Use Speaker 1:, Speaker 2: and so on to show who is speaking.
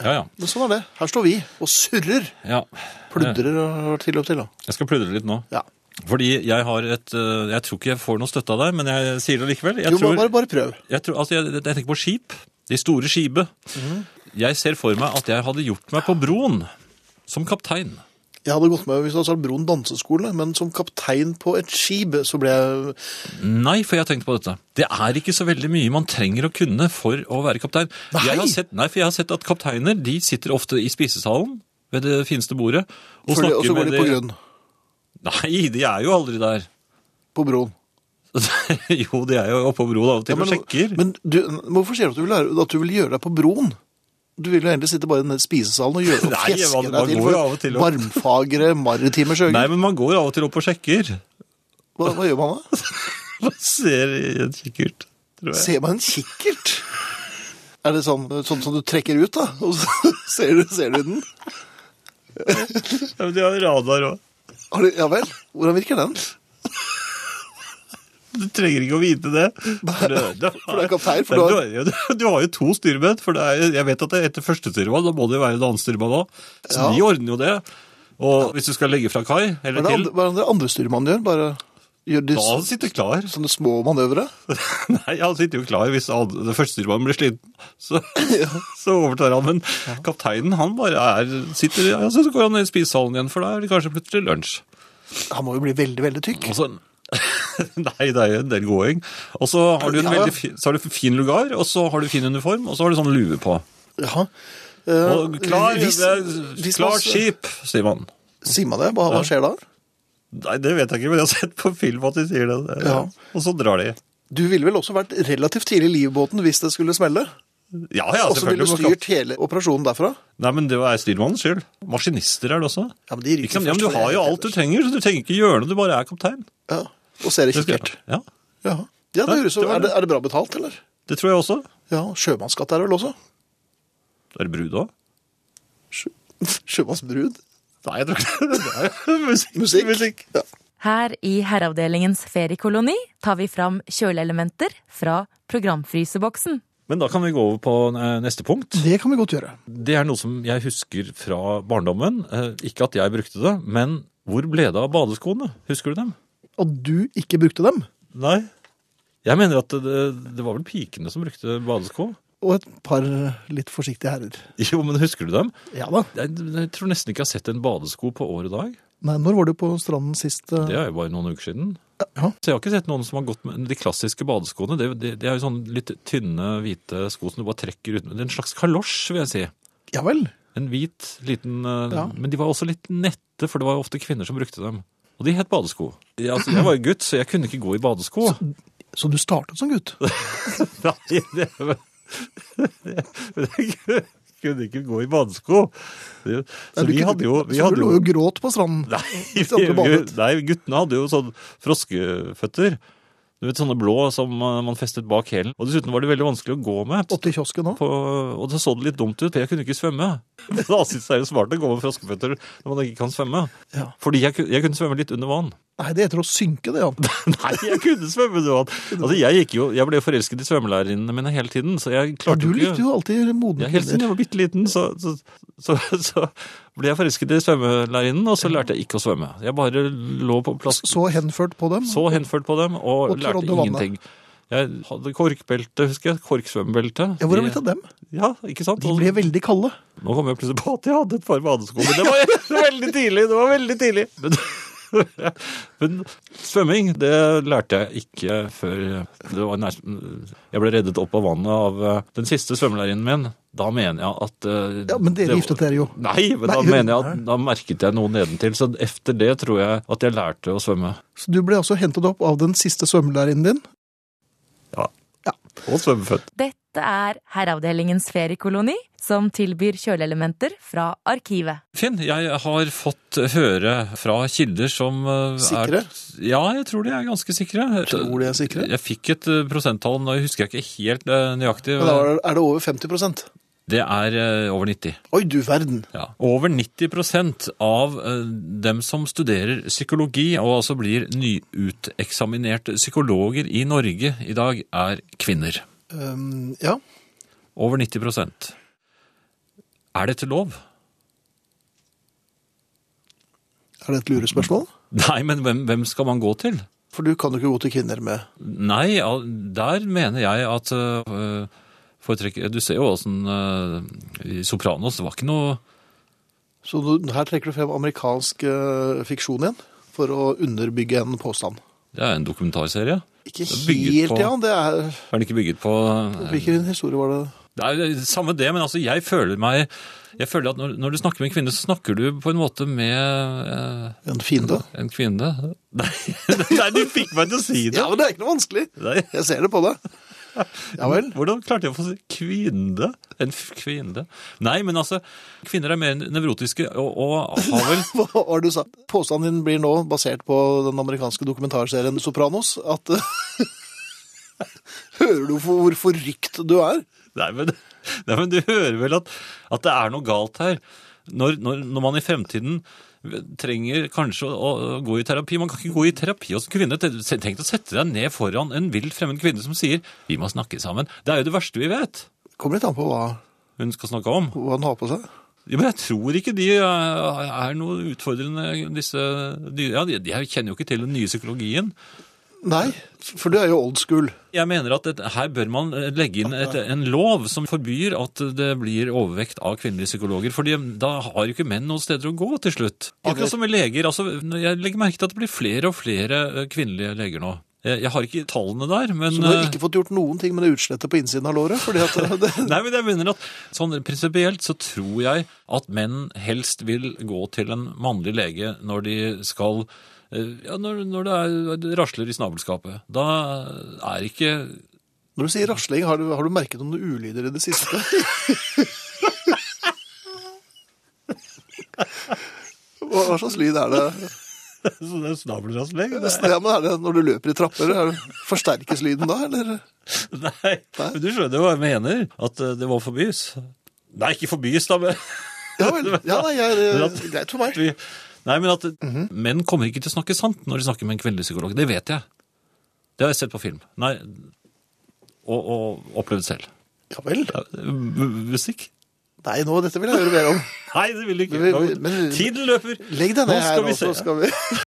Speaker 1: Ja, ja.
Speaker 2: Men sånn er det. Her står vi og surrer.
Speaker 1: ja.
Speaker 2: Pludrer og til og til. da.
Speaker 1: Jeg skal pludre litt nå.
Speaker 2: Ja.
Speaker 1: Fordi jeg har et eh, Jeg tror ikke jeg får noe støtte av deg, men jeg sier det likevel. Jeg
Speaker 2: Jo,
Speaker 1: tror,
Speaker 2: bare, bare prøv.
Speaker 1: jeg, tror, altså, jeg, jeg tenker på skip. De store skipet.
Speaker 2: Mhm.
Speaker 1: Jeg ser for meg at jeg hadde gjort meg på broen som kaptein.
Speaker 2: Jeg hadde gått med hvis du hadde sagt Broen danseskole, men som kaptein på et skip så ble jeg
Speaker 1: Nei, for jeg har tenkt på dette. Det er ikke så veldig mye man trenger å kunne for å være kaptein.
Speaker 2: Nei!
Speaker 1: Jeg har sett, nei, for jeg har sett at kapteiner de sitter ofte i spisesalen ved det fineste bordet
Speaker 2: Følge-
Speaker 1: og snakker
Speaker 2: Og så går
Speaker 1: med
Speaker 2: de på grunn.
Speaker 1: Nei, de er jo aldri der.
Speaker 2: På broen.
Speaker 1: jo, de er jo oppe på broen av og til og
Speaker 2: men
Speaker 1: sjekker.
Speaker 2: men du, men hvorfor sier du at du, vil, lære- at du vil gjøre deg på broen? Du vil jo egentlig sitte bare i den der spisesalen og, gjøre, og
Speaker 1: Nei,
Speaker 2: fjeske
Speaker 1: man- man
Speaker 2: deg til
Speaker 1: går jo av og til
Speaker 2: for
Speaker 1: og-
Speaker 2: varmfagre maritime
Speaker 1: Nei,
Speaker 2: sjøgutter.
Speaker 1: men man går av og til opp og sjekker.
Speaker 2: Hva, hva gjør man da?
Speaker 1: Man ser i en kikkert, tror jeg.
Speaker 2: Ser man en kikkert? Er det sånn, sånn som du trekker ut, da? Og så ser du, ser du den?
Speaker 1: Ja, men de har radar òg.
Speaker 2: Har du, ja vel? Hvordan virker den?
Speaker 1: Du trenger ikke å vite det. For det,
Speaker 2: for du er kaptein, for du har-
Speaker 1: du, har... du har jo to styrmenn. For det er, jeg vet at det er etter første styrmann, da må det jo være en annen styrmann òg. Så
Speaker 2: Ja.
Speaker 1: de ordner jo det. Og hvis du skal legge fra kai,
Speaker 2: Hva er
Speaker 1: eller
Speaker 2: det
Speaker 1: til,
Speaker 2: andre, hva er det andre andrestyrmannen gjør? Bare gjør de
Speaker 1: da han sitter klar.
Speaker 2: sånne små manøvre?
Speaker 1: Nei, han sitter jo klar hvis han, det første styrmannen blir sliten. Så, så overtar han. Men kapteinen, han bare er, sitter ja, Så går han ned i spisesalen igjen, for da er det kanskje plutselig lunsj.
Speaker 2: Han må jo bli veldig, veldig tykk.
Speaker 1: Og så, nei, det er jo en del gåing. Og så har du en
Speaker 2: Ja, ja.
Speaker 1: veldig fin, så har du fin lugar, og så har du fin uniform, og så har du sånn lue på.
Speaker 2: Ja.
Speaker 1: Og
Speaker 2: Eh,
Speaker 1: klar,
Speaker 2: hvis-
Speaker 1: det er
Speaker 2: hvis man-
Speaker 1: klart skip, sier man.
Speaker 2: Sier man det? Hva, hva skjer da?
Speaker 1: Nei, det vet jeg ikke, men jeg har sett på film at de sier det.
Speaker 2: Ja.
Speaker 1: Og så drar de.
Speaker 2: Du ville vel også vært relativt tidlig i livbåten hvis det skulle smelle?
Speaker 1: Ja, ja,
Speaker 2: Og så ville
Speaker 1: selvfølgelig.
Speaker 2: du
Speaker 1: må klart-
Speaker 2: styrt hele operasjonen derfra?
Speaker 1: Nei, men det er styrmannens skyld. Maskinister er det også.
Speaker 2: Ja, men de ryker
Speaker 1: Ikke sant? ja, men
Speaker 2: først,
Speaker 1: du
Speaker 2: for
Speaker 1: har
Speaker 2: det
Speaker 1: jo
Speaker 2: er
Speaker 1: alt du trenger, så du trenger ikke gjøre noe, du bare er kaptein.
Speaker 2: Ja. Og ser
Speaker 1: Det
Speaker 2: ikke
Speaker 1: skal-
Speaker 2: helt.
Speaker 1: Ja,
Speaker 2: Ja. ja, det
Speaker 1: Ja,
Speaker 2: høres jo
Speaker 1: det var
Speaker 2: er,
Speaker 1: det.
Speaker 2: det- er det bra betalt, eller?
Speaker 1: det tror jeg også.
Speaker 2: Ja, sjømannsskatt er det vel også?
Speaker 1: Er det brud også?
Speaker 2: Sjø- Sjømannsbrud?
Speaker 1: Nei, jeg tror ikke det. det. er jo musikk.
Speaker 2: Musikk? Ja.
Speaker 3: Her i Herreavdelingens feriekoloni tar vi fram kjøleelementer fra programfryseboksen.
Speaker 1: Men da kan vi gå over på eh, neste punkt.
Speaker 2: Det kan vi godt gjøre.
Speaker 1: Det er noe som jeg husker fra barndommen. Eh, Ikke at jeg brukte det, men hvor ble det av badeskoene? Husker du dem?
Speaker 2: Og du ikke brukte dem?
Speaker 1: Nei. Jeg mener at det, det var vel pikene som brukte badesko.
Speaker 2: Og et par litt forsiktige herrer.
Speaker 1: Jo, men husker du dem?
Speaker 2: Ja da.
Speaker 1: Jeg, jeg tror nesten ikke jeg har sett en badesko på år og dag.
Speaker 2: Nei, når var du på stranden sist? eh?
Speaker 1: Det er jo bare noen uker siden.
Speaker 2: Ja.
Speaker 1: Så jeg har ikke sett noen som har gått med de klassiske badeskoene. Det, det, det er jo sånn litt tynne, hvite sko som du bare trekker ut. Det er En slags kalosj, vil jeg si.
Speaker 2: ja vel.
Speaker 1: En hvit, liten eh,
Speaker 2: Ja.
Speaker 1: Men de var også litt nette, for det var ofte kvinner som brukte dem. Og de het badesko. Jeg, altså, jeg var jo gutt, så jeg kunne ikke gå i badesko.
Speaker 2: Så du startet som gutt?
Speaker 1: Nei, det, jeg kunne ikke gå i badesko. Det-
Speaker 2: Nei,
Speaker 1: Så
Speaker 2: du
Speaker 1: vi
Speaker 2: kunne-
Speaker 1: hadde jo vi
Speaker 2: Så
Speaker 1: hadde
Speaker 2: du lå
Speaker 1: jo-
Speaker 2: jo og gråt på stranden?
Speaker 1: Nei, vi,
Speaker 2: Hvis andre
Speaker 1: vi,
Speaker 2: badet.
Speaker 1: nei, guttene hadde jo sånn froskeføtter. Du vet, Sånne blå som eh, man festet bak hælen. Og dessuten var det veldig vanskelig å gå med.
Speaker 2: Åtte i kiosken òg?
Speaker 1: På, og det så det litt dumt ut, for jeg kunne ikke svømme. Men da synes jeg det er smart å gå med froskeføtter når man ikke kan svømme.
Speaker 2: Ja.
Speaker 1: Fordi jeg, ku- jeg kunne svømme litt under vann.
Speaker 2: Nei, det heter å synke, det, ja.
Speaker 1: Nei, jeg kunne svømme under vann! Altså, jeg, gikk jo, jeg ble jo forelsket i svømmelærerinnene mine hele tiden, så jeg
Speaker 2: Ja,
Speaker 1: klarte
Speaker 2: Du
Speaker 1: jo
Speaker 2: likte
Speaker 1: ikke
Speaker 2: jo alltid
Speaker 1: ja,
Speaker 2: modne
Speaker 1: Helt siden
Speaker 2: kvinner.
Speaker 1: jeg var bitte liten, så, så, så, så ble jeg forelsket i svømmelærerinnen, og så lærte jeg ikke å svømme. Jeg bare lå på plass
Speaker 2: Så henført på dem.
Speaker 1: Så henført på dem,
Speaker 2: Og
Speaker 1: og, lærte
Speaker 2: trådde vannet.
Speaker 1: ingenting. Jeg hadde korkbelte, husker jeg. Korksvømmebelte.
Speaker 2: Ja, Hvor har
Speaker 1: De-
Speaker 2: det blitt av dem?
Speaker 1: Ja, ikke sant?
Speaker 2: De
Speaker 1: Og-
Speaker 2: ble veldig kalde.
Speaker 1: Nå kom jeg plutselig på at jeg hadde et par badesko, men det var veldig tidlig! det var veldig tidlig. Men, men svømming, det lærte jeg ikke før det var nær, Jeg ble reddet opp av vannet av eh, den siste svømmelærerinnen min. Da mener jeg at eh,
Speaker 2: Ja, Men dere
Speaker 1: det-
Speaker 2: giftet dere jo.
Speaker 1: Nei, men da
Speaker 2: Nei, hun-
Speaker 1: mener jeg at da merket jeg noe nedentil. Så efter det tror jeg at jeg lærte å svømme.
Speaker 2: Så du ble altså hentet opp av den siste svømmelærerinnen din?
Speaker 1: Og svømmeføtt.
Speaker 3: Dette er Herreavdelingens feriekoloni, som tilbyr kjøleelementer fra arkivet.
Speaker 1: Finn, jeg har fått høre fra kilder som eh,
Speaker 2: Sikre?
Speaker 1: er Ja, jeg tror de er ganske sikre.
Speaker 2: Tror de er sikre?
Speaker 1: Jeg fikk et eh, prosenttall, nå husker jeg ikke helt eh, nøyaktig.
Speaker 2: Men da er det- er det over 50
Speaker 1: Det er eh, over 90.
Speaker 2: Oi, du verden.
Speaker 1: Ja. Over 90 av eh, dem som studerer psykologi, og altså blir nyuteksaminerte psykologer i Norge i dag, er kvinner.
Speaker 2: Ehm, ja.
Speaker 1: Over 90 Er dette lov?
Speaker 2: Er det et lurespørsmål?
Speaker 1: Nei, men hvem, hvem skal man gå til?
Speaker 2: For du kan jo ikke gå til kvinner med
Speaker 1: Nei, al- der mener jeg at øh, foretrekker- Du ser jo åssen øh, I Sopranos det var ikke noe
Speaker 2: Så du, her trekker du frem amerikansk eh, fiksjon igjen for å underbygge en påstand.
Speaker 1: Det er en dokumentarserie.
Speaker 2: Ikke
Speaker 1: Det er bygget
Speaker 2: helt,
Speaker 1: på-
Speaker 2: ja. Det er,
Speaker 1: Er den ikke bygget på
Speaker 2: hvilken historie var det?
Speaker 1: Det er jo samme det, men altså, jeg føler meg jeg føler at når, når du snakker med en kvinne, så snakker du på en måte med eh,
Speaker 2: En fiende?
Speaker 1: en kvinne. Nei, nei, du fikk meg til å si det!
Speaker 2: Ja, men det er ikke noe vanskelig.
Speaker 1: Nei.
Speaker 2: Jeg ser det på deg. Ja vel.
Speaker 1: Hvordan klarte jeg å få si kvinne? En f- kvinne? Nei, men altså, kvinner er mer nevrotiske og, og har vel
Speaker 2: Hva har du sagt? Påstanden din blir nå basert på den amerikanske dokumentarserien Sopranos. At eh, Hører du for hvor forrykt du er?
Speaker 1: Nei, men, nei, men du hører vel at, at det er noe galt her. Når, når, når man i fremtiden trenger kanskje å, å gå i terapi. Man kan ikke gå i terapi hos en kvinne. Tenk å sette deg ned foran en vilt fremmed kvinne som sier 'vi må snakke sammen'. Det er jo det verste vi vet
Speaker 2: Kommer litt an på hva,
Speaker 1: hun skal snakke om.
Speaker 2: hva han har på seg.
Speaker 1: Ja, men jeg tror ikke de eh, er noe utfordrende, disse de, ja, de, de kjenner jo ikke til den nye psykologien.
Speaker 2: Nei, for du er jo old school.
Speaker 1: Jeg mener at dette- her bør man eh, legge inn et, en lov som forbyr at det blir overvekt av kvinnelige psykologer, fordi da har jo ikke menn noen steder å gå til slutt. Akkurat som med leger, altså når jeg legger merke til at det blir flere og flere eh, kvinnelige leger nå. Jeg jeg har ikke tallene der, men
Speaker 2: Så du har
Speaker 1: eh,
Speaker 2: ikke fått gjort noen ting med det utslettet på innsiden av låret? fordi at det,
Speaker 1: Nei, men jeg mener at sånn prinsipielt så tror jeg at menn helst vil gå til en mannlig lege når de skal eh, Ja, når, når det er, det rasler i snabelskapet. Da er ikke
Speaker 2: Når du sier rasling, har du, har du merket noen ulyder i det siste? Hva, hva slags lyd er det?
Speaker 1: Så det er snabelrasling?
Speaker 2: Nesten, ja, men er det når du løper i trapper? Er det, forsterkes lyden da, eller?
Speaker 1: Nei, men du skjønner jo hva jeg mener. At eh, det må forbys. Nei, ikke forbys, da, men
Speaker 2: Ja vel. Ja, nei, jeg,
Speaker 1: Men
Speaker 2: det
Speaker 1: at-
Speaker 2: er greit for meg.
Speaker 1: vi, Nei, men at menn kommer ikke til å snakke sant når de snakker med en kvinnelig psykolog. Det vet jeg. Det har jeg sett på film. Nei, og, og opplevd selv.
Speaker 2: Ja vel.
Speaker 1: Ja, m- Musikk?
Speaker 2: Nei, nå, dette vil jeg høre mer om.
Speaker 1: Nei, det vil du ikke.
Speaker 2: Men- men-
Speaker 1: Tiden løper.
Speaker 2: Legg deg
Speaker 1: Nå
Speaker 2: ned her,
Speaker 1: skal vi
Speaker 2: og så
Speaker 1: se.
Speaker 2: skal vi